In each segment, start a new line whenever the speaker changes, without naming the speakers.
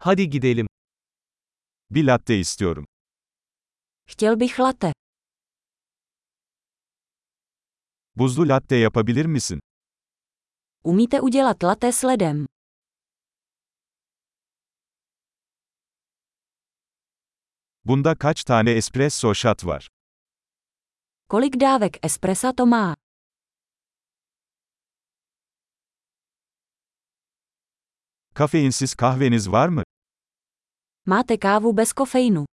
Hadi gidelim. Bir latte istiyorum.
Chtěl bych latte.
Buzlu latte yapabilir misin?
Umíte udělat latte s ledem?
Bunda kaç tane espresso shot var?
Kolik dávek espressa to má?
Kafeinsiz kahveniz var mı?
Máte kávu bez kofeinu.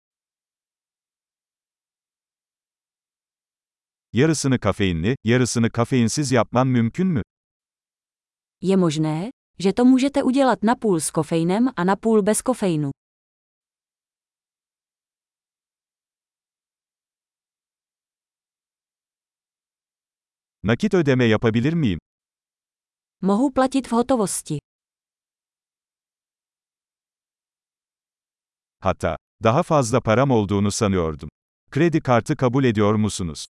Yarısını kafeinli, yarısını kafeinsiz yapman mümkün mü?
Je možné, že to můžete udělat napůl s kofeinem a napůl bez kofeinu.
Nakit ödeme yapabilir miyim?
Mohu platit v hotovosti.
Hatta daha fazla param olduğunu sanıyordum. Kredi kartı kabul ediyor musunuz?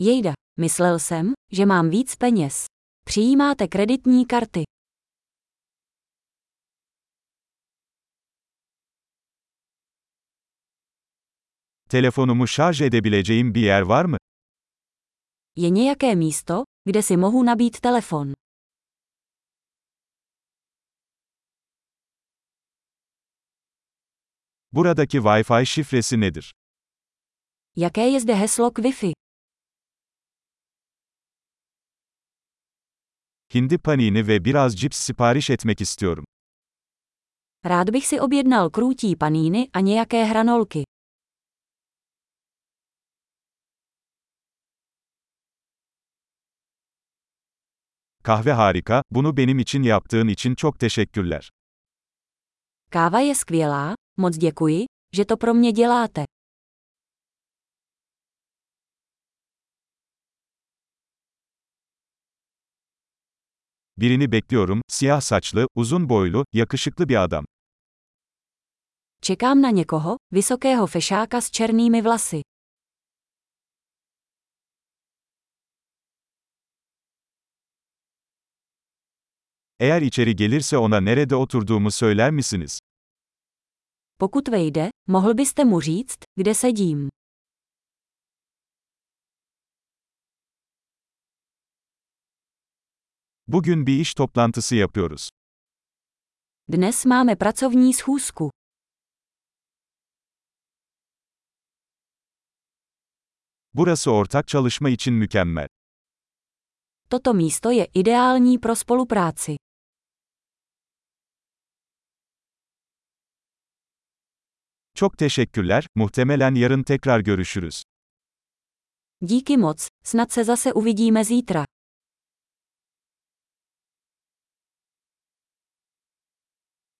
Jejda, myslel jsem, že mám víc peněz. Přijímáte kreditní karty.
Telefonumu şarj edebileceğim bir yer var mı?
Je nějaké místo, kde si mohu nabít telefon.
Buradaki Wi-Fi şifresi nedir?
Jaké je zde heslo k Wi-Fi?
Hindi panini ve biraz cips sipariş etmek istiyorum.
Rád bych si objednal krůtí paníny a nějaké hranolky.
Kahve harika, bunu benim için yaptığın için çok teşekkürler.
Káva je skvělá, moc děkuji, že to pro mě děláte.
Birini bekliyorum, siyah saçlı, uzun boylu, yakışıklı bir adam.
Čekám na někoho, vysokého fešáka s černými vlasy.
Eğer içeri gelirse ona nerede oturduğumu söyler misiniz?
Pokud vejde, mohl byste mu říct, kde sedím.
Bugün bir iş toplantısı yapıyoruz.
Dnes máme pracovní schůzku.
Burası ortak çalışma için mükemmel.
Toto místo je ideální pro spolupráci.
Çok teşekkürler, muhtemelen yarın tekrar görüşürüz.
Díky moc, snad se zase uvidíme zítra.